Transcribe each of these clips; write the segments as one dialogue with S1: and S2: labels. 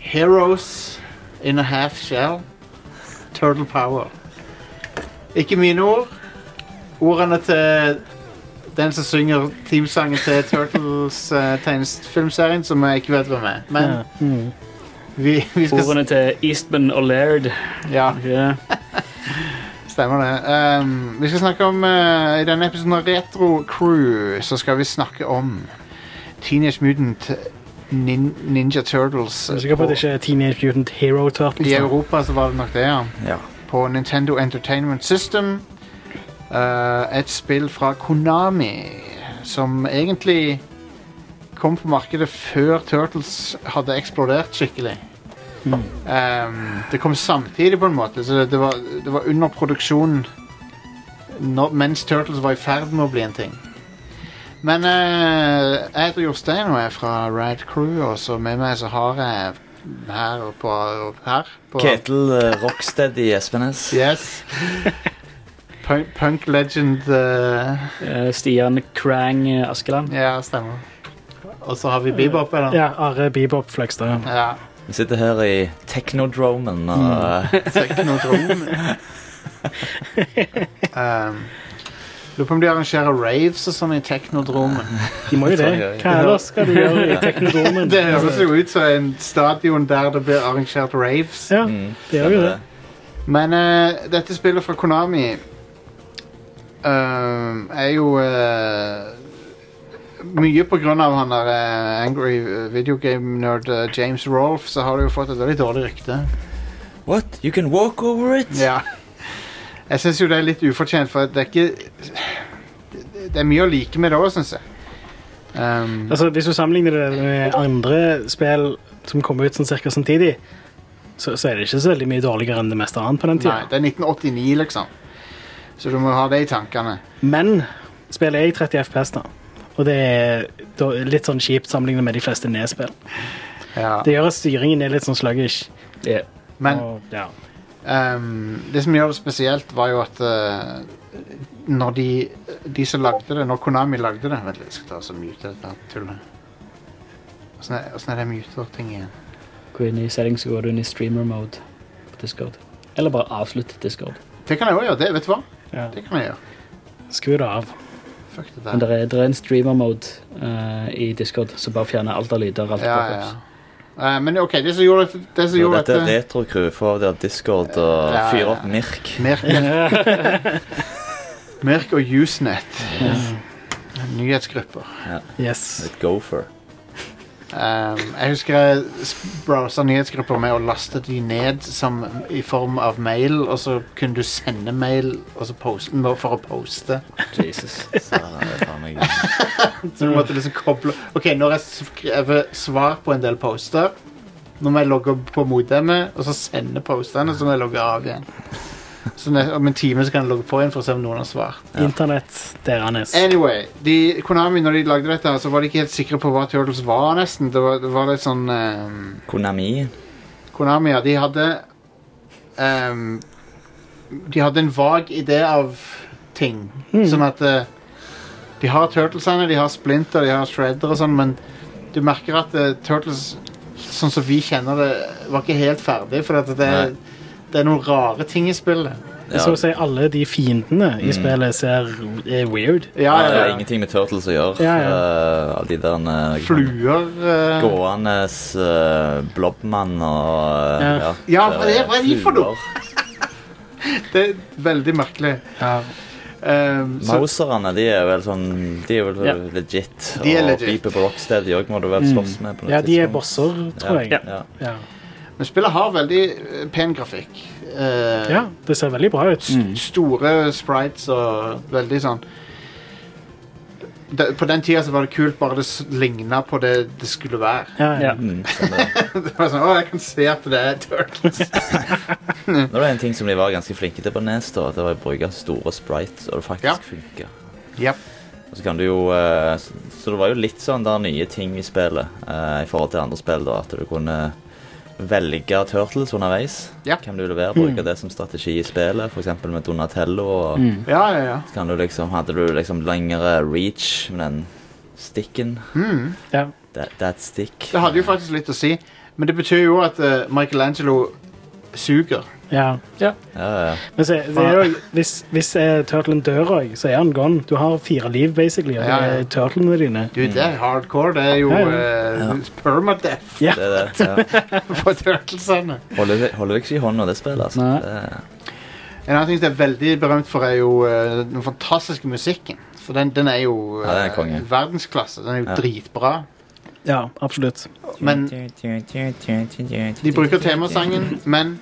S1: Heroes in a half shell. Turtle power. Ikke mine ord. Ordene til den som synger teamsangen til Turtles eh, tegnefilmserien, som jeg ikke vet hvem er. Men
S2: Ja.
S3: Mm.
S1: vi, vi skal
S2: Ordene til Eastman og Laird.
S1: Ja,
S2: Ja.
S1: stemmer det. Ehm, vi skal snakke om eh, I denne episoden av Retro Crew så skal vi snakke om Teenage Mutant Nin Ninja Turtles.
S3: Jeg er sikker på at det ikke er Teenage Mutant Hero Turtles.
S1: I Europa så var det nok det, ja.
S4: Ja.
S1: På Nintendo Entertainment System. Eh, et spill fra Konami som egentlig kom på markedet før Turtles hadde eksplodert skikkelig. Ehm, det kom samtidig, på en måte, så det, det, var, det var under produksjon når, mens Turtles var i ferd med å bli en ting. Men eh, jeg heter Jostein og jeg er fra Rad Crew, og så med meg så har jeg her og på, her på
S4: Ketil eh, Rockstead i Espenes.
S1: Yes. Punk, punk legend eh,
S2: Eh, Stian Krang eh, Askeland.
S1: Ja, stemmer. Og så har vi Bebop, eller?
S3: Ja, Are Bebop Fløgstad. ja.
S1: ja.
S4: Vi sitter her i Technodromen og eh,
S1: Teknodrom. um, Lurer på om de arrangerer raves og sånn i Teknodromen.
S3: De må jo det. Hva ellers skal du gjøre i Teknodromen?
S1: Det høres jo ut som en stadion der det blir arrangert raves.
S3: Ja,
S4: mm,
S3: det gjør jo det.
S1: Men eh, dette spillet fra Konami eh, er jo eh, Mye på grunn av han der eh, angry videogame-nerd eh, James Rolfe, så har det jo fått et veldig dårlig rykte.
S4: What? You can walk over it?
S1: Ja. Jeg syns jo det er litt ufortjent, for det er ikke Det det er mye å like med det òg, syns jeg. Um,
S3: Altså, hvis du sammenligner det med andre spill som kom ut sånn cirka samtidig, så, så er det ikke så veldig mye dårligere enn det meste annet på den
S1: nei,
S3: tida.
S1: det er 1989, liksom. Så du må ha det i tankene.
S3: Men spillet er i 30 FPS, da. Og det er da litt sånn kjipt sammenlignet med de fleste nedspill.
S1: Ja.
S3: Det gjør at styringen er litt sånn sluggish.
S2: Ja.
S1: Men
S3: og, ja.
S1: Ehm, det som gjør det spesielt, var jo at eh, når de, de som lagde det, når Konami lagde det Vent litt, jeg skal ta og mute dette tullet. Åssen er, hvordan er det muter-ting igjen?
S2: Gå inn i settings så går du inn i streamer mode på Discord. Eller bare avslutt Discord.
S1: Det kan jeg òg gjøre. Det, vet du hva?
S3: Ja.
S1: Det kan jeg gjøre.
S3: Skru det av.
S1: Fuck det
S2: Men
S1: der.
S2: det er, der er en streamer mode eh, i Discord som bare fjerner alt av lyder. Alt altså.
S1: Ja,
S2: av
S1: ja.
S2: pop-ups.
S1: Eh, men OK, det som gjorde at- det som
S4: Så
S1: gjorde
S4: dette er
S1: at eh,
S4: retrocrew. Få av der Discord og
S1: Ja,
S4: fyr
S1: ja.
S4: opp Mirk.
S1: Merk, Merk og Usenet. Nyhetsgrupper.
S3: Yes.
S4: Et gopher.
S1: Ehm, jeg husker jeg s- browsa nyhetsgrupper med å laste de ned som, i form av mail, og så kunne du sende mail og så poste, nå for å poste.
S2: Jesus.
S4: Så her er det faen meg-
S1: Så du måtte liksom koble OK, nå har jeg skrevet svar på en del poster. Nå må jeg logge på modemet og så sende postene, så må jeg logge av igjen. Så ne- om en time så kan jeg logge på igjen for å se om noen har svart.
S3: Internett deres.
S1: Anyway, de, Konami, når de lagde dette, her, så var de ikke helt sikre på hva Turtles var, nesten. Det var, det var litt sånn ehm,
S4: Konami.
S1: Konami, ja, de hadde ehm, De hadde en vag idé av ting. Sånn at eh, De har Turtlesene, de har Splinter, de har Shredder og sånn, men du merker at eh, Turtles sånn som vi kjenner det, var ikke helt ferdig, for at det, er- det er noen rare ting i spillet.
S4: Ja,
S3: Så å si alle de fiendene
S1: Mm.
S3: i spillet ser er weird.
S1: Ja,
S4: det
S1: ja,
S4: har
S1: ja.
S4: ingenting med Turtles å gjøre.
S3: Ja, ja.
S4: Eh, alle de der eh,
S1: Fluer eh,
S4: Gående eh, blobmann og eh,
S3: Ja.
S1: Ja, hva er- hva er de for noe?
S4: fluer.
S1: Det er veldig merkelig. Ehm, så-
S4: Mauserne, de er vel sånn De er vel
S2: Ja.
S4: legit.
S1: De er legit.
S4: Og Beeper på Rockstead de òg må du vel slåss med. på noe
S3: Mm. Ja, de er
S4: tidspunkt.
S3: bosser, tror jeg.
S4: Ja. Ja.
S3: Ja.
S1: Men spillet har veldig eh, pen grafikk. Eh,
S3: ja, det ser veldig bra ut.
S4: Mm.
S1: st- Store sprites og veldig sånn Da- På den tida så var det kult, bare det s- ligna på det det skulle være.
S3: Ja, ja.
S2: Ja.
S4: Mm, sånn det.
S1: Det var sånn, Å, jeg kan se at det er Turtles.
S4: Nå er det en ting som de var ganske flinke til på Nes, da, det var å bruke store sprites, og det faktisk
S1: Ja.
S4: funker.
S1: Yep.
S4: Og Så, kan du jo, eh, s- så det var jo litt sånn der nye ting i spillet eh, i forhold til andre spill, da, at du kunne velge turtles underveis.
S1: Ja.
S4: Kan du levere,
S3: Mm.
S4: bruke det som strategi i spillet, f.eks. med Donatello. Og
S2: Mm.
S1: Ja, ja, ja.
S4: så kan du liksom, hadde du liksom lengre reach med den stikken.
S3: ja.
S4: Hmm. That, that stick.
S1: Det hadde jo faktisk litt å si. Men det betyr jo at eh, Michelangelo suger.
S3: Ja.
S4: Ja, ja.
S3: Men se, det er jo, hvis, hvis eh, turtlen dør òg, så er han gone. Du har fire liv, basically, og
S1: Ja,
S3: det
S1: ja.
S3: er turtlene dine.
S1: Du,
S4: Hmm.
S1: det er hardcore. Det er jo
S3: Ja,
S1: eh, permadeath
S3: Ja.
S4: Det er det. Ja.
S1: for turtlesene.
S4: Holder, vi- holder vi ikke i hånda, det spillet. Altså.
S2: Nei.
S4: Det,
S1: En annen ting som er veldig berømt for, er jo eh, den fantastiske musikken. For den, den er jo
S4: Ja, den er
S1: eh,
S4: konge.
S1: verdensklasse. Den er jo
S4: Ja.
S1: dritbra.
S3: Ja, absolutt.
S1: Men de bruker temasangen, men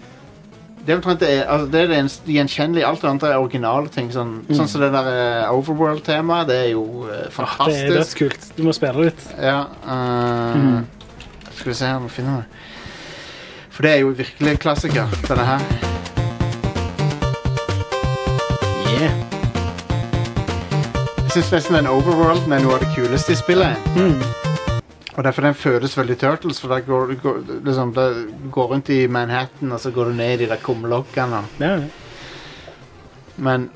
S1: det er omtrent det, er- altså, det, er det eneste gjenkjennelige. Alt det andre er originale ting. Sånn som det der eh, Overworld-temaet. Det er jo eh,
S3: Det er
S1: fantastisk.
S3: dødskult. Du må spille litt.
S1: Ja eh, Skal vi se her om vi finner det. For det er jo virkelig en klassiker, denne her. Jeg syns nesten den Overworlden er noe av det kuleste i spillet.
S3: Mm.
S1: Og derfor den føles veldig Turtles, for der går du går, liksom, der går rundt i Manhattan, og så går du ned i de der kumlokkene.
S3: Ja.
S1: Men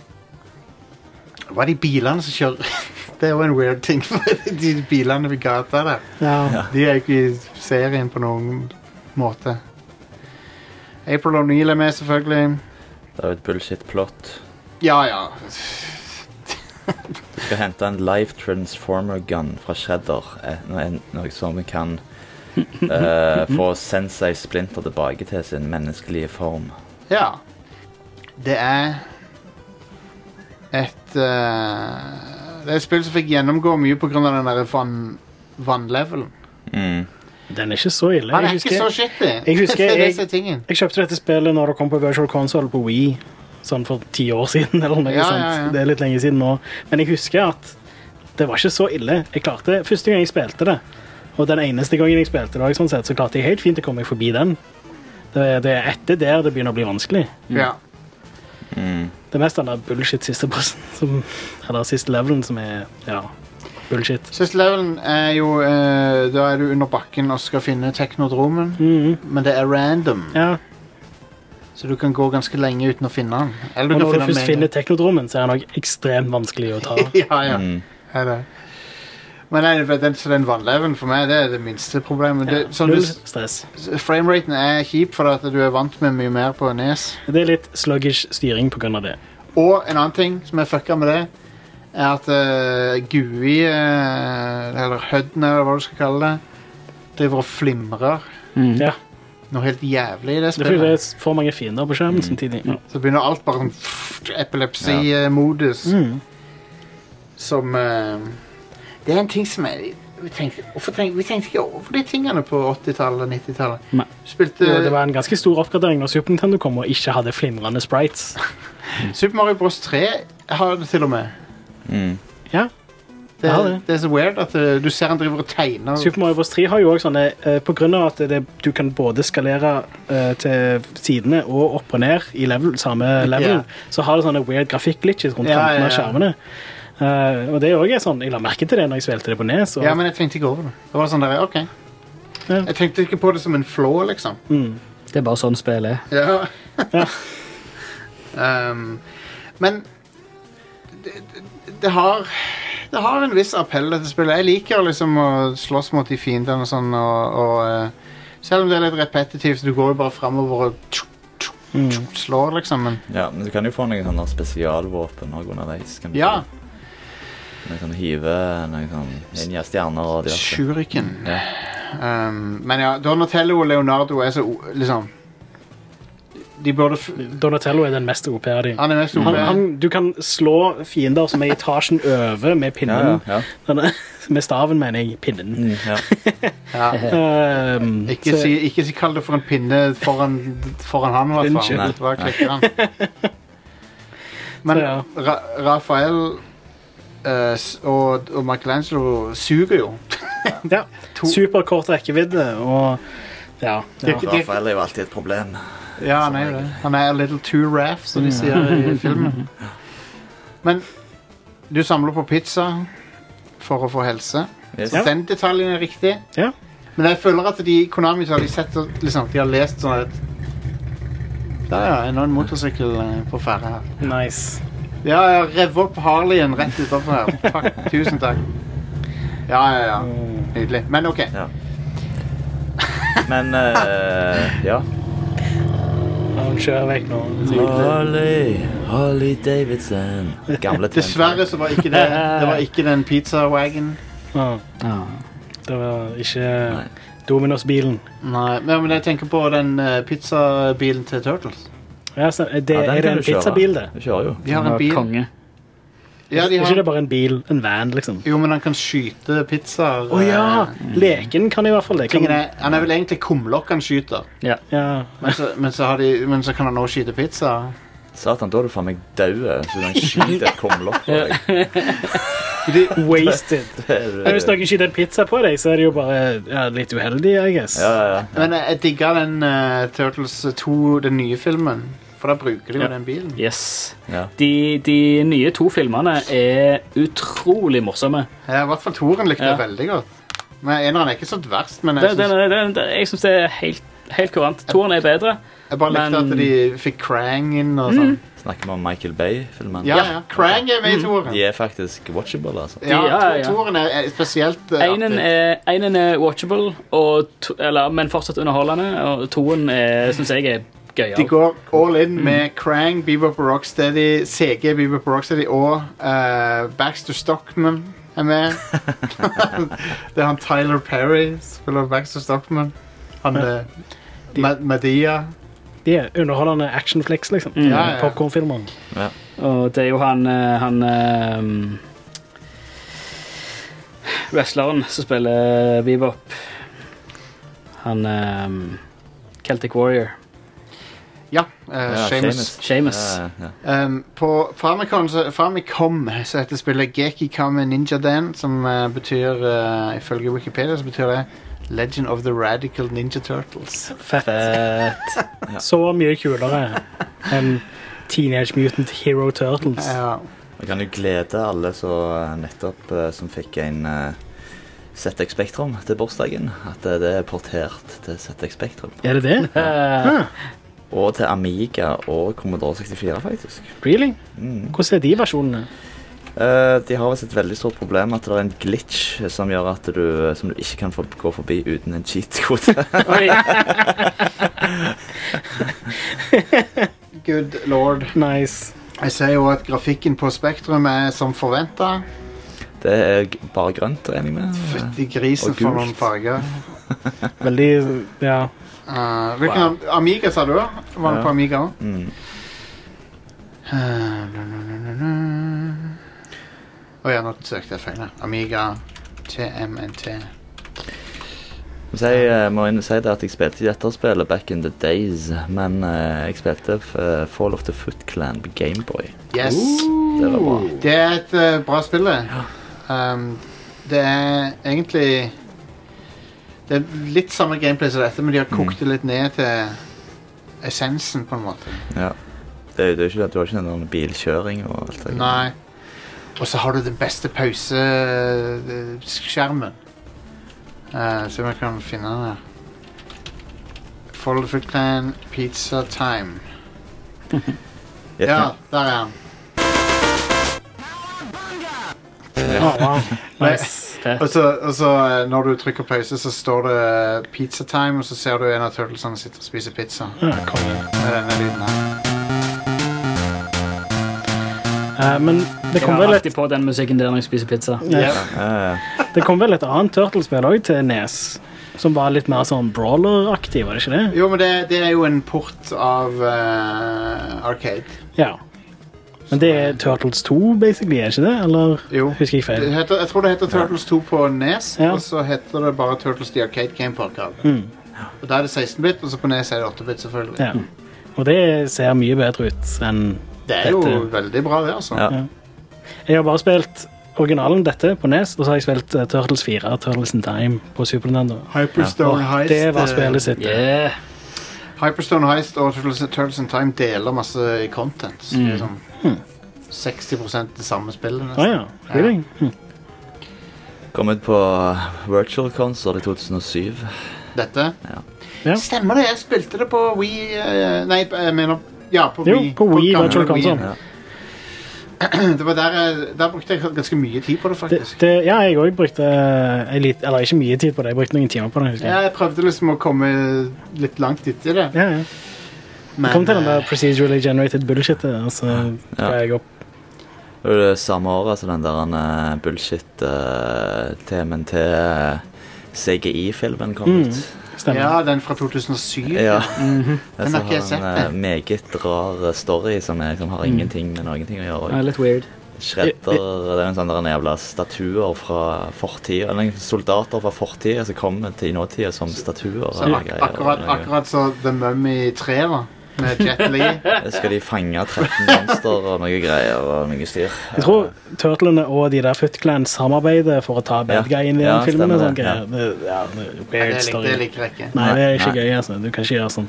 S1: Hva er de bilene som kjører? Det er jo en weird ting. for De bilene ved gata der.
S3: ja.
S1: De er jo ikke i serien på noen måte. April O'Neill er med, selvfølgelig.
S4: det er jo et bullshit-plott.
S1: Ja, ja.
S4: Du skal hente en live transformer gun fra Shredder. eh, noe- en- Noe som kan eh, få Sensei Splinter tilbake til sin menneskelige form.
S1: Ja. Det er et eh, Det er et spill som fikk gjennomgå mye pga. den der vann, vannlevelen.
S4: Mm.
S3: Den er ikke så ille.
S1: Han er
S3: Jeg
S1: ikke så
S3: husker,
S1: shitty.
S3: jeg husker
S1: det er det
S3: jeg-
S1: som er tingen.
S3: jeg kjøpte dette spillet når det kom på Virtual Console på Wii, sånn for ti år siden. eller noe
S1: Ja,
S3: sånt.
S1: ja, ja.
S3: Det er litt lenge siden nå. Men jeg husker at det var ikke så ille. Jeg klarte, Første gang jeg spilte det, og den eneste gangen jeg spilte det, også, sånn sett, så klarte jeg helt fint å komme meg forbi den. Det, det er etter der det begynner å bli vanskelig.
S1: Ja.
S4: Mm.
S3: Det er mest den der bullshit siste bossen som, Eller siste levelen som er Ja, bullshit
S1: Siste levelen er jo eh, Da er du under bakken og skal finne teknodromen.
S3: Mhm.
S1: Men det er random,
S3: Ja,
S1: så du kan gå ganske lenge uten å finne den. Eller
S3: og
S1: du
S3: når du
S1: kan
S3: først
S1: finne den
S3: finner teknodromen Så er den også ekstremt vanskelig å ta
S1: med en gang. ja, ja.
S4: Mm.
S1: Er det. Men nei, for den, så den vannleven for meg det er det minste problemet.
S3: ja,
S1: Det, sånn,
S3: Null
S1: du,
S3: stress
S1: frameraten er kjip fordi at du er vant med mye mer på nes.
S3: Det er litt sluggish styring på grunn av det
S1: Og en annen ting som er fucka med det, er at eh, GUI, eh, eller HUD-en, eller hva du skal kalle det, driver og flimrer
S2: Mm.
S3: Ja,
S1: noe helt jævlig i det
S3: det er fordi det
S1: spillet.
S3: er for mange fiender på skjermen samtidig ja.
S1: Så begynner alt bare sånn pff, epilepsimodus.
S3: Mm.
S1: Som eh, Det er en ting som jeg vi tenkte, hvorfor tenkte, vi tenkte ikke over de tingene på 80-tallet og 90-tallet.
S2: Nei.
S1: Spilte
S3: Jo, Det var en ganske stor oppgradering når Super Nintendo kom Og ikke hadde flimrende sprites
S1: Super Mario Bros. 3 har det til og med.
S4: Mm.
S3: Ja,
S1: Det,
S3: Ja, det.
S1: det er så weird at eh, du ser han driver og tegner
S3: Super Mario Bros. 3 har jo også sånne eh, På grunn av at det, du kan både skalere eh, til sidene og opp og ned i level, samme level,
S1: Ja.
S3: så har det sånne weird grafikk-glitches rundt
S1: Ja,
S3: kanten
S1: ja,
S3: av
S1: ja.
S3: skjermene. Eh, og det er også sånn, Jeg la merke til det når jeg spilte det på Nes. Og,
S1: Ja, men jeg tenkte ikke over det. Det var sånn der, ok.
S3: Ja.
S1: Jeg tenkte ikke på det som en flå, liksom.
S3: Mm.
S2: Det er bare sånn spillet er.
S1: Ja. um, men det, det, det har Det har en viss appell, dette spillet. Jeg liker liksom å slåss mot de fiendene og sånn, og, og eh, Selv om det er litt repetitivt, du går jo bare framover og tsk, tsk,
S3: Mm.
S1: tsk, slår, liksom. Men
S4: Ja, men du kan jo få noen sånne spesialvåpen også underveis. Kan du
S1: ja,
S4: få? Noen sånn hive, noen sånn ninja stjerner og diverse.
S1: shuriken.
S4: Ja.
S1: Um, men ja, Donatello og Leonardo er så o- liksom De burde f
S3: Donatello er den mest OP av dem.
S1: Han er mest
S3: Han, han,
S1: oppe.
S3: du kan slå fiender som er i etasjen over med
S4: Ja,
S3: pinnen.
S4: ja, ja.
S3: Denne- med staven, mener jeg. Pinnen.
S4: Mm, ja.
S1: Ja.
S3: Um,
S1: Ikke
S3: så-
S1: si, ikke si kall det for en pinne foran, foran han, i hvert fall.
S3: Unnskyld.
S1: Bare klikker han. Men
S3: Så ja.
S1: Ra Rafael eh, s- og, og Michelangelo suger jo.
S3: ja, Superkort rekkevidde og ja. ja.
S1: Det-
S4: Rafael er jo alltid et problem.
S1: Ja, han er jo det. Mm. Han er a little too raff, som de sier i filmen. Men du samler på pizza for å få helse.
S4: Yes.
S1: Så Den detaljen er riktig.
S3: Ja.
S1: Men jeg føler at de Konami så har de sett og liksom, De har lest sånn at Der ja, enda en motorsykkel eh, på ferde her.
S3: Nice.
S1: Ja, ja, rev opp Harleyen rett utenfor her. Takk, tusen takk. Ja, ja, ja. Nydelig. Men OK.
S4: Ja. Men eh, ja.
S3: Han kjører vekk nå.
S4: Holly, Holly Davidson. Gamle
S1: Dessverre så var ikke det Det var ikke den pizzawagon.
S3: Ja,
S2: Ah.
S3: det var ikke
S4: Nei.
S3: Dominos-bilen.
S1: Nei, men men jeg tenker på den eh, pizzabilen til Turtles.
S3: Ja, stem- det,
S4: Ja, den
S3: er
S4: kan
S3: det en
S4: du kjøre.
S3: pizzabil, det?
S4: Du kjører jo.
S1: De har
S2: Han
S1: en
S2: var
S1: bil.
S2: Konge.
S1: Ja, de
S3: Er ikke
S1: har,
S3: det bare en bil? En van, liksom?
S1: jo, men han kan skyte pizzaer.
S3: Å ja! Leken kan i hvert fall det. Kan,
S1: Tingen er, han er vel egentlig kumlokk han skyter,
S2: Ja.
S3: ja.
S1: men så, men, så har de, men så kan han også skyte pizzaer.
S4: Satan, da er du faen meg død. eh, Så den skyter et kumlokk på deg.
S3: Wasted.
S4: Det er du-
S3: Men hvis noen skyter en pizza på deg, så er det jo bare ja, litt uheldig, I guess.
S4: Ja, ja, ja.
S1: Men jeg, jeg digga den eh, Turtles 2, den nye filmen. For da bruker de jo
S2: Ja.
S1: den bilen.
S2: Yes.
S4: Ja.
S2: De, de nye to filmene er utrolig morsomme.
S1: Ja, I hvert fall Toren likte
S2: Ja.
S1: jeg veldig godt. Men Eneren er ikke så verst, men jeg,
S2: Den, den,
S1: synes,
S2: den, den, jeg syns det er helt, helt kurant. Toeren er bedre.
S1: jeg bare likte
S2: men- Mm.
S1: at de fikk Krang inn og sånn.
S4: Snakker vi om Michael Bay-filmen?
S1: Ja, ja. Krang er med i Toren.
S4: De er faktisk watchable, altså.
S1: Ja,
S2: Ja, ja, ja.
S1: Toren er er spesielt eh,
S2: Einen
S1: artig.
S2: er, einen er watchable, og to, eller, men fortsatt underholdende. Og toen syns jeg er
S1: De
S2: gøyere.
S1: går all in med Krang, Bebop og Rocksteady, CG, Bebop og Rocksteady og eh, Baxter Stockman er med. det er han Tyler Perry som spiller Baxter Stockman. Han er Madia.
S3: De er underholdende actionflex, liksom.
S2: Mm.
S1: Ja, ja.
S3: Popcornfilmer.
S2: Og det er jo han, eh, han ehm, Wrestleren som spiller Bebop. Han ehm, Celtic Warrior.
S1: Ja, eh, Seamus.
S2: Seamus.
S4: Ja, ja.
S1: Um, på Famicom så, Famicom så heter spillet Gekikame Ninja Dan, som eh, betyr, eh, ifølge Wikipedia, så betyr det Legend of the Radical Ninja Turtles.
S2: Fett.
S3: Så mye kulere enn Teenage Mutant Hero Turtles.
S1: Ja.
S4: Jeg kan jo glede alle som eh, nettopp eh, som fikk en eh, ZX Spektrum til bursdagen, at eh, det er portert til ZX Spektrum.
S3: Er det det?
S2: Eh,
S4: Og til Amiga og Commodore 64, faktisk.
S3: Really?
S4: Mm.
S3: Hvordan er de versjonene?
S4: Eh, de har visst et veldig stort problem at det er en glitch som gjør at du, som du ikke kan få, gå forbi uten en cheat-kode.
S2: oi.
S1: Good lord.
S3: Nice.
S1: Jeg ser jo at grafikken på Spektrum er som forventa.
S4: det er g- bare grønt, regner jeg med.
S1: Fytti grisen
S4: Og
S1: for
S4: gult.
S1: noen farger.
S3: Veldig Ja.
S1: Eh, hvilken Amiga sa du? da? Var det
S4: Ja.
S1: på Amiga òg?
S4: Mm.
S1: Å ja, nå søkte jeg feil. her. Amiga TMNT.
S4: Så jeg eh, må inn- si det at jeg spilte ikke dette spillet back in the days, men eh, jeg spilte eh, Fall of the Foot Clan på Gameboy.
S1: Yes!
S4: Det var bra.
S1: Det er et eh, bra spill, det. Um, det er egentlig Det er litt samme gameplay som dette, men de har
S4: Mm.
S1: kokt det litt ned til essensen, på en måte.
S4: Ja. Det, er jo- det er jo ikke det. Du har ikke noen bilkjøring og alt det.
S1: Nei. Og så har du den beste pauseskjermen. Uh, så vi kan finne den her. Follow the Clan Pizza Time.
S4: Gjett
S1: Ja, der er han.
S3: Å, Ah, wow. Nice.
S1: Og så, og så eh, når du trykker pause, så står det eh, Pizza Time, og så ser du en av turtlesene sitter og spiser pizza.
S3: Ja, konge.
S1: Med denne lyden her.
S3: Eh, men det
S2: Jeg
S3: kom,
S2: kommer
S3: vel et,
S2: alltid på den musikken der når jeg spiser pizza.
S1: Ja.
S4: Ja, ja.
S3: det kom vel et annet Turtles-spill òg til Nes, som var litt mer sånn brawler-aktig, var det ikke det?
S1: Jo, men det, det er jo en port av eh, Arcade.
S3: Ja. Men det er Turtles 2, basically, er det ikke det? Eller
S1: Jo.
S3: husker jeg feil?
S1: Det heter, jeg tror det heter Turtles 2 på Nes,
S3: Ja. Mm.
S1: og så heter det bare Turtles The Arcade Game på Arcade. Og Da er det 16-bit, og så på Nes er det 8-bit, selvfølgelig.
S3: Ja. Og det ser mye bedre ut enn
S1: Det er jo
S3: Dette-
S1: veldig bra, det, altså.
S4: Ja.
S3: Jeg har bare spilt originalen dette på Nes, og så har jeg spilt eh, Turtles 4, Turtles in Time på Super Nintendo.
S1: Hyperstone
S3: Og det var spillet sitt.
S2: Yeah.
S1: Eh, Hyperstone Heist og Turtles, Turtles in Time deler masse content. så det er Liksom. 60 det samme spillet,
S3: Mm. Å
S1: nesten.
S3: ja. Really? Hm.
S4: Kom ut på eh, Virtual Console i 2007.
S1: Dette.
S3: Ja.
S1: Stemmer det, jeg spilte det på Wii eh, Nei, jeg mener Ja, på
S3: Jo,
S1: Wii.
S3: på Wii,
S1: gamle
S3: Virtual
S1: Wii.
S3: Console.
S4: Ja.
S1: Det var der, jeg- der brukte jeg ganske mye tid på det,
S3: Det,
S1: faktisk.
S3: det, ja, jeg òg brukte eh, en lit- Eller ikke mye tid på det, jeg brukte noen timer på det. husker
S1: Ja,
S3: jeg.
S1: jeg prøvde liksom å komme litt langt etter det.
S3: Ja, ja.
S1: Men,
S3: Kom til den der
S1: eh,
S3: procedurally generated bullshit, eh, og så ga
S4: Ja.
S3: jeg opp.
S4: Det var det samme året som den der eh, bullshit eh, TMNT eh, CGI-filmen kom
S3: Mm.
S4: ut.
S3: Stemmer.
S1: ja, den fra 2007.
S4: Ja.
S1: Den har ikke jeg
S4: Så
S1: sett,
S4: har en eh, meget rar eh, story som er, som har
S1: Mm.
S4: ingenting med noen ting å gjøre.
S2: Ja, litt weird.
S4: Shredder det er en sånn der en jævla statuer fra fortida. Eller soldater fra fortida som kommer til nåtida som statuer. og
S1: Så ak
S4: greier og
S1: akkurat,
S4: noe.
S1: akkurat så The Mummy 3, da. Med Jet Li.
S4: Eh, Skal de fange 13 monstre og noe greier og noe styr?
S3: Jeg tror Turtlene og de der Foot Clan samarbeider for å ta bad
S4: Ja.
S3: guyen i
S4: Ja,
S3: den filmen. og
S4: stemmer
S3: sånne
S4: det,
S3: greier. Det- Ja. det er
S1: Ja,
S3: Weird
S1: det, lik, det
S3: story.
S1: liker jeg ikke.
S3: Nei, det er ikke
S4: Nei.
S3: gøy. altså. Du kan ikke gjøre sånt.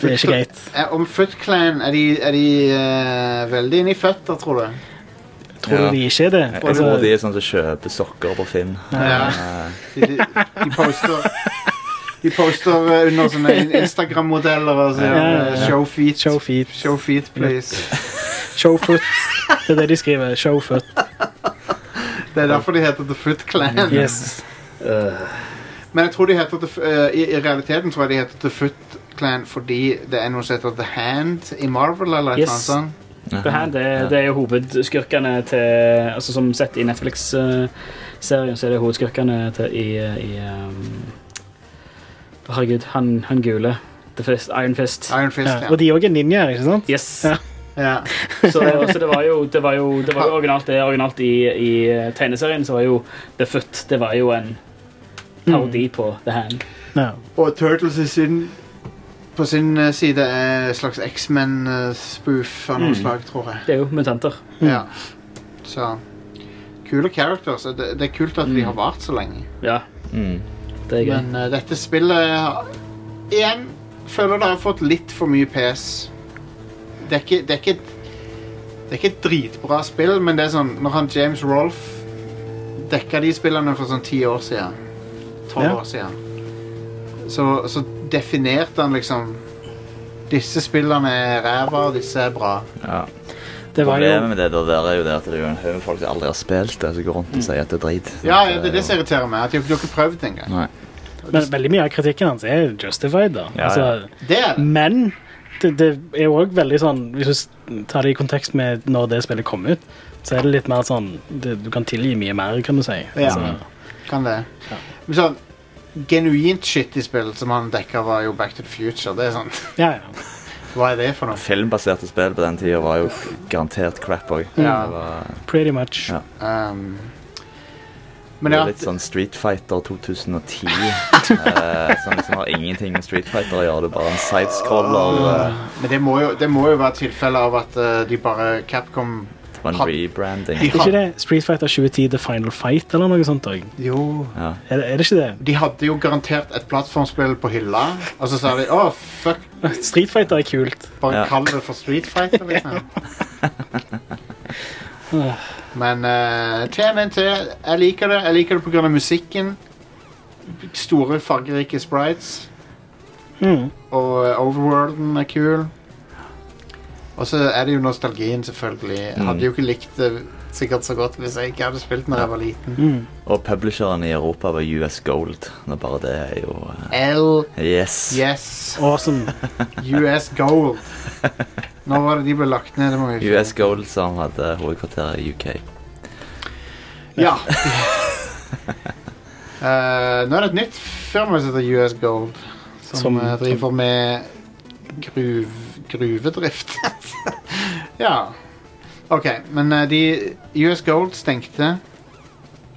S3: Det er ikke greit.
S1: Eh, Om Foot Clan Er de, er de eh, veldig inni føtter, tror du?
S3: Tror du
S4: Ja.
S3: de ikke er det?
S4: Jeg, jeg
S3: Altså,
S4: tror de er sånn som kjøper sokker på Finn.
S1: Ja.
S4: Eh,
S1: De, de, de poster De poster eh, under sånne in- Instagram-modeller og sånn.
S3: Ja, ja, ja.
S1: Show feet.
S3: Show feet.
S1: Show feet, please.
S3: Show foot. Det er det de skriver. Show foot.
S1: Det er derfor de heter The Foot Clan.
S3: Yes.
S1: Eh. Men jeg tror de heter The, F- eh, i, I realiteten tror jeg de heter The Foot Clan fordi det er noe som heter The Hand i Marvel, eller et eller annet
S2: Yes.
S1: sånt.
S2: Det, her, det, det er jo hovedskurkene til altså Som sett i Netflix-serien, så er det hovedskurkene til i, i um, Herregud, han, han gule. The Fist, Iron Fist.
S1: Iron Fist,
S3: Ja.
S1: ja.
S3: Og de òg er ninjaer, ikke sant?
S2: Yes.
S3: Ja.
S1: ja.
S2: Så, så det var jo, det var jo, det var jo originalt det. Originalt i, i tegneserien så var jo The Foot det var jo en parodi på The Hand.
S3: Ja.
S1: Og Turtles i sin, på sin eh, side er en slags X-Men-spoof av noe
S2: Mm.
S1: slag, tror jeg.
S2: Det er jo mutanter.
S1: Ja. Så Kule characters. og Det, det er kult at de har vart så lenge.
S2: Ja,
S4: Mm.
S2: Mm. det er gøy.
S1: Men eh, dette spillet har- Igjen føler det har fått litt for mye pes. Det er ikke Det er ikke, et- det er ikke et dritbra spill, men det er sånn Når han James Rolfe dekka de spillene for sånn ti år siden, tolv
S3: Ja.
S1: år siden, så, så definerte han liksom Disse spillene er ræva, disse er bra.
S4: Ja.
S3: Det var
S4: Problemet
S3: jo
S4: med det der, der er jo det at det er jo en haug med folk som aldri har spilt det, som går rundt og sier at det er drit.
S1: Ja, ja, det er det som irriterer meg. At de de har ikke prøvd det engang.
S4: Nei.
S3: Men veldig mye av kritikken hans er justified, da.
S4: Ja,
S3: Altså,
S1: Det er det.
S3: men det, det er jo òg veldig sånn Hvis du s- tar det i kontekst med når det spillet kom ut, så er det litt mer sånn det, Du kan tilgi mye mer, kan du si.
S1: Ja.
S3: Altså,
S1: Kan det. Men sånn genuint shitty spill som han dekka, var jo Back to the Future. Det er sånn
S3: ja, ja.
S1: Hva er det for noe?
S4: Filmbaserte spill på den tida var jo garantert crap òg.
S1: Ja.
S3: Pretty much.
S4: Ja.
S1: Um,
S4: Det
S1: men ja,
S4: er litt sånn Street Fighter 2010. eh, som liksom har ingenting med Street Fighter å gjøre. Det er bare en sidescroller. eh,
S1: men det må jo, det må jo være tilfelle av at eh, de bare Capcom
S4: det var en
S1: Har-
S4: rebranding.
S1: de
S3: Er ikke
S1: had,
S3: det Street Fighter 2010 The Final Fight eller noe sånt òg?
S1: jo,
S4: Ja.
S3: Er, det- er det ikke det?
S1: de hadde jo garantert et plattformspill på hylla, og så sa de å, fuck,
S3: Street Fighter er kult.
S1: bare
S4: Ja.
S1: kall det for Street Fighter, liksom. Men eh, TMNT, jeg liker det. Jeg liker det pga. musikken. Store, fargerike sprites.
S3: Mm.
S1: Og eh, overworlden er kul. Og så er det jo nostalgien, selvfølgelig. Jeg hadde jo ikke likt det sikkert så godt hvis jeg ikke hadde spilt når jeg var liten.
S3: Mm.
S4: Og publisheren i Europa var US Gold. Nå bare det er jo eh,
S1: L,
S4: Yes.
S1: yes,
S3: Awesome.
S1: US Gold. Nå var det de ble lagt ned. det må vi
S4: US Gold som hadde hovedkvarteret i UK.
S1: Ja. Eh, nå er det et nytt firma som heter US Gold, som,
S3: Som-
S1: eh, driver med gruv, gruvedrift. ja. OK, men eh, de US Gold stengte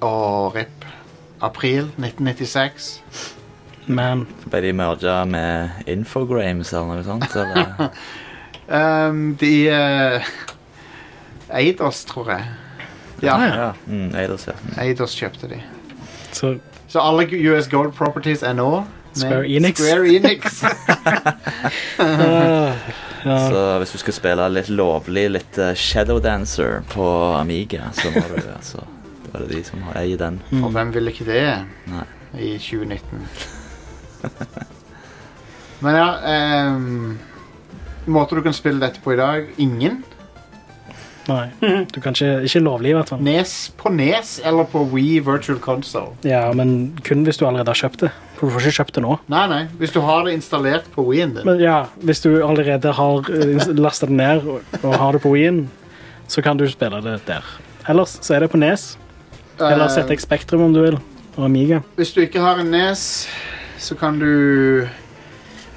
S1: og RIP. April 1996.
S3: Man.
S4: Så ble de merga med Infogrames eller noe sånt. Eller?
S1: Ehm, de eh, eide oss, tror jeg.
S3: Ah,
S1: Ja,
S3: ja.
S4: Ja. Mm, Eidos, ja. Mm.
S1: eide oss kjøpte de.
S3: Så
S1: Så alle US Gold Properties er nå med
S3: Square Enix.
S1: Square Enix.
S3: Ah, ja.
S4: Så hvis du skal spille litt lovlig, litt eh, Shadow Dancer på Amiga, så må du altså Det var det de som eier den.
S1: Og hvem ville ikke det
S4: Mm. Nei.
S1: i 2019? Men ja ehm, Måter du kan spille dette på i dag? Ingen.
S3: Nei. Du kan ikke, ikke lovlig, i hvert fall.
S1: Nes, på Nes eller på Wii Virtual Console.
S3: Ja, men kun hvis du allerede har kjøpt det. For du får ikke kjøpt det nå.
S1: Nei, nei, hvis du har det installert på Wien din.
S3: Men ja, hvis du allerede har lasta det ned og, og har det på Wien, så kan du spille det der. Ellers så er det på Nes. Eller
S1: Eh,
S3: ZX Spektrum, om du vil. Og Amiga.
S1: Hvis du ikke har en Nes, så kan du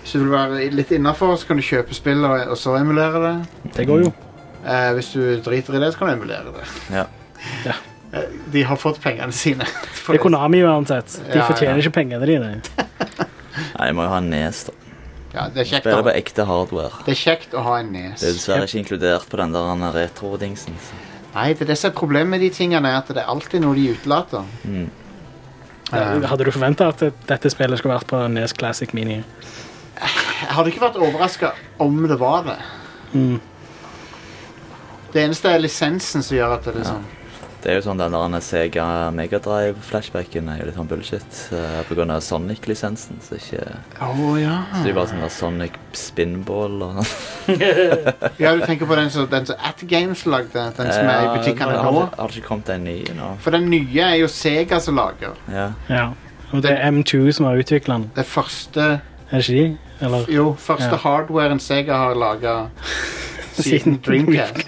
S1: Hvis du vil være litt innafor, så kan du kjøpe spill og, og så emulere det.
S3: Det går jo.
S1: Eh, hvis du driter i det, så kan du emulere det.
S4: Ja.
S3: Ja.
S1: Eh, De har fått pengene sine. for
S3: Det er Konami uansett. De
S1: Ja,
S3: fortjener
S1: ja.
S3: ikke pengene dine.
S4: Nei, jeg må jo ha en nes, da.
S1: Ja, det, er kjekt,
S4: Spiller
S1: å-
S4: på ekte hardware.
S1: det er kjekt å ha en nes.
S4: Det er dessverre ikke inkludert på den der andre retro-dingsen. så.
S1: Nei, det er det som er problemet med de tingene, er at det er alltid noe de utelater.
S4: Mm.
S1: Eh,
S3: Hadde du forventa at dette spillet skulle vært på Nes Classic Mini?
S1: jeg hadde ikke vært overraska om det var det.
S3: Mm.
S1: Det eneste er lisensen som gjør at det er sånn.
S4: Det er jo sånn den der andre Sega Megadrive-flashbacken er jo litt sånn bullshit eh, på grunn av Sonic-lisensen. Så ikke
S1: Å ja.
S4: så det er bare sånn der Sonic Spinball og sånn.
S1: ja. Du tenker på den som, den som At Games lagde, den som er i butikkene
S4: Ja,
S1: nå?
S4: Har, har det ikke kommet en ny nå?
S1: For den nye er jo Sega som lager.
S4: Ja.
S3: Ja. Og det er M2 som har utvikla den.
S1: Det første
S3: Er det ikke de? Eller
S1: Jo, første
S3: Ja.
S1: hardwaren Sega har laga siden Dreamcast.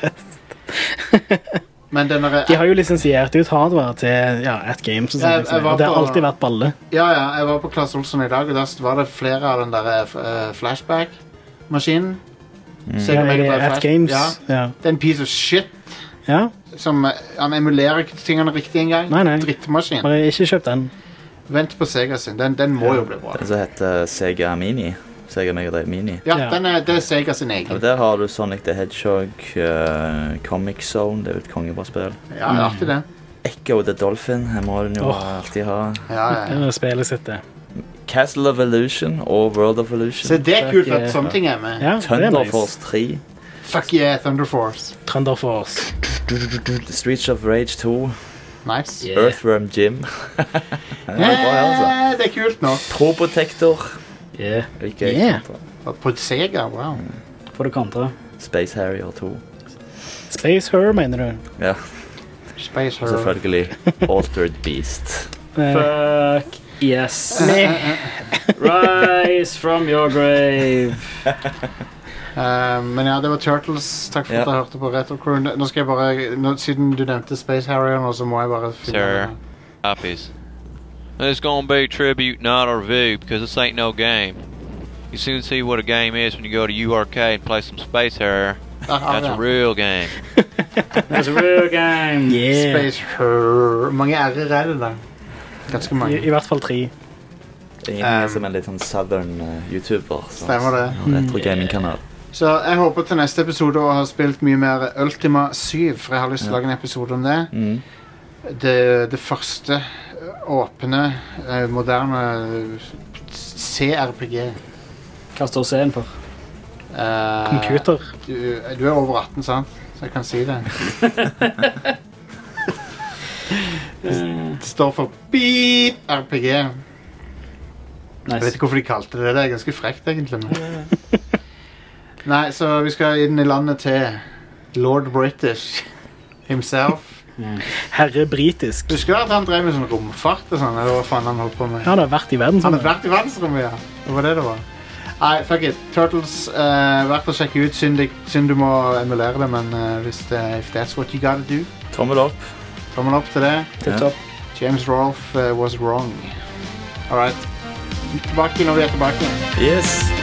S1: Men den derre-
S3: De har jo lisensiert ut hardware til ja, At Games. Og sånt,
S1: Jeg- jeg
S3: liksom.
S1: var
S3: Og det har
S1: på-
S3: alltid vært balle.
S1: Ja, ja, jeg var på Claes Olsson i dag, og der var det flere av den der eh, flashback-maskinen.
S4: Mm.
S3: Ja,
S1: Sega Mega
S3: i
S1: Drive
S3: At
S1: Flash-
S3: Games.
S1: Ja.
S3: Ja.
S1: Det er en piece of shit
S3: ja.
S1: som eh, Han emulerer ikke tingene riktig engang.
S3: Nei, nei.
S1: Drittmaskin.
S3: Bare ikke kjøp den.
S1: Vent på Sega sin. Den, den må jo bli bra.
S4: Den som heter Sega Mini. Sega Megadrive Mini.
S1: Ja,
S3: Ja.
S1: den er, det er Sega sin egen.
S4: Og der har du Sonic the Hedgehog, eh, Comic Zone, det er jo et kongebra spill.
S1: Ja, det er artig, det.
S4: Echo the Dolphin, her må den jo
S3: Åh.
S4: alltid ha.
S1: Ja,
S3: Det
S1: ja.
S3: er spillet sitt, det.
S4: Castle of Illusion og World of
S1: Så
S4: Illusion.
S1: det er kult at sånne ting er med.
S3: Ja, det er
S4: Thunder
S3: nice.
S4: Force 3.
S1: Fuck yeah, Thunder Force.
S3: Thunder Force.
S4: Streets of Rage 2.
S1: Nice.
S2: Yeah.
S4: Earthworm Jim. ja, bra, altså.
S1: Eh, det er kult nå.
S4: Probotector.
S2: Yeah.
S4: Ikke
S3: Yeah.
S4: sant, da.
S1: På Sega, wow.
S2: På det kontra.
S4: Space Harrier 2.
S3: Space Her, mener du?
S4: Ja,
S1: Space
S4: og
S1: Hero.
S4: selvfølgelig Altered Beast.
S3: Eh,
S2: Fuck yes. Rise from your grave.
S1: Eh, men ja, det var Turtles. Takk for
S4: Ja.
S1: at jeg hørte på Retrocrew. Nå skal jeg bare, nå, Siden du nevnte Space Harrier nå, så må jeg bare finne
S5: Sir. copies. It's gonna be tribute, not a review, because this ain't no game. You soon see what a game is when you go to URK and play some Space Harrier.
S1: Der har
S5: That's
S1: vi
S5: a
S1: den.
S5: real game.
S2: That's a real game.
S3: yeah.
S1: Space Harrier. mange r-er er det der? Ganske
S3: I, I
S1: mange.
S3: hvert fall tre.
S4: Ingen er
S1: Um,
S4: som en litt sånn southern eh, YouTuber. Så,
S1: Stemmer det.
S4: Retrogaming-kanal.
S1: Så jeg håper til neste episode å ha spilt mye mer Ultima 7, for jeg har lyst til å lage en episode om det.
S4: Mm.
S1: Det, det første åpne, eh, moderne eh, CRPG.
S2: Hva står C-en for?
S1: Eh,
S3: Computer.
S1: Du, du er over 18, sant? Så jeg kan si det.
S2: Eh,
S1: Det står for beep RPG. Jeg vet
S2: nice.
S1: ikke hvorfor de kalte det det. Det er ganske frekt, egentlig. men- Nei, så vi skal inn i landet til lord British himself.
S3: Herre britisk.
S1: Husker du at han drev med sånn romfart og sånn? Eller hva faen han holdt på med?
S3: Ja, det har vært i
S1: Han
S3: verden. Sånn.
S1: hadde vært i verdensrommet, ja. Det var det det var. Nei, fuck it. Turtles, uh, verdt å sjekke ut. Synd, det- synd du må emulere det, men eh, hvis det, if that's what you gotta do,
S4: Tommel opp.
S1: tommel opp til det.
S2: Tipp topp.
S1: James Rolfe eh, was wrong. All right. Tilbake når vi er tilbake.
S4: Yes.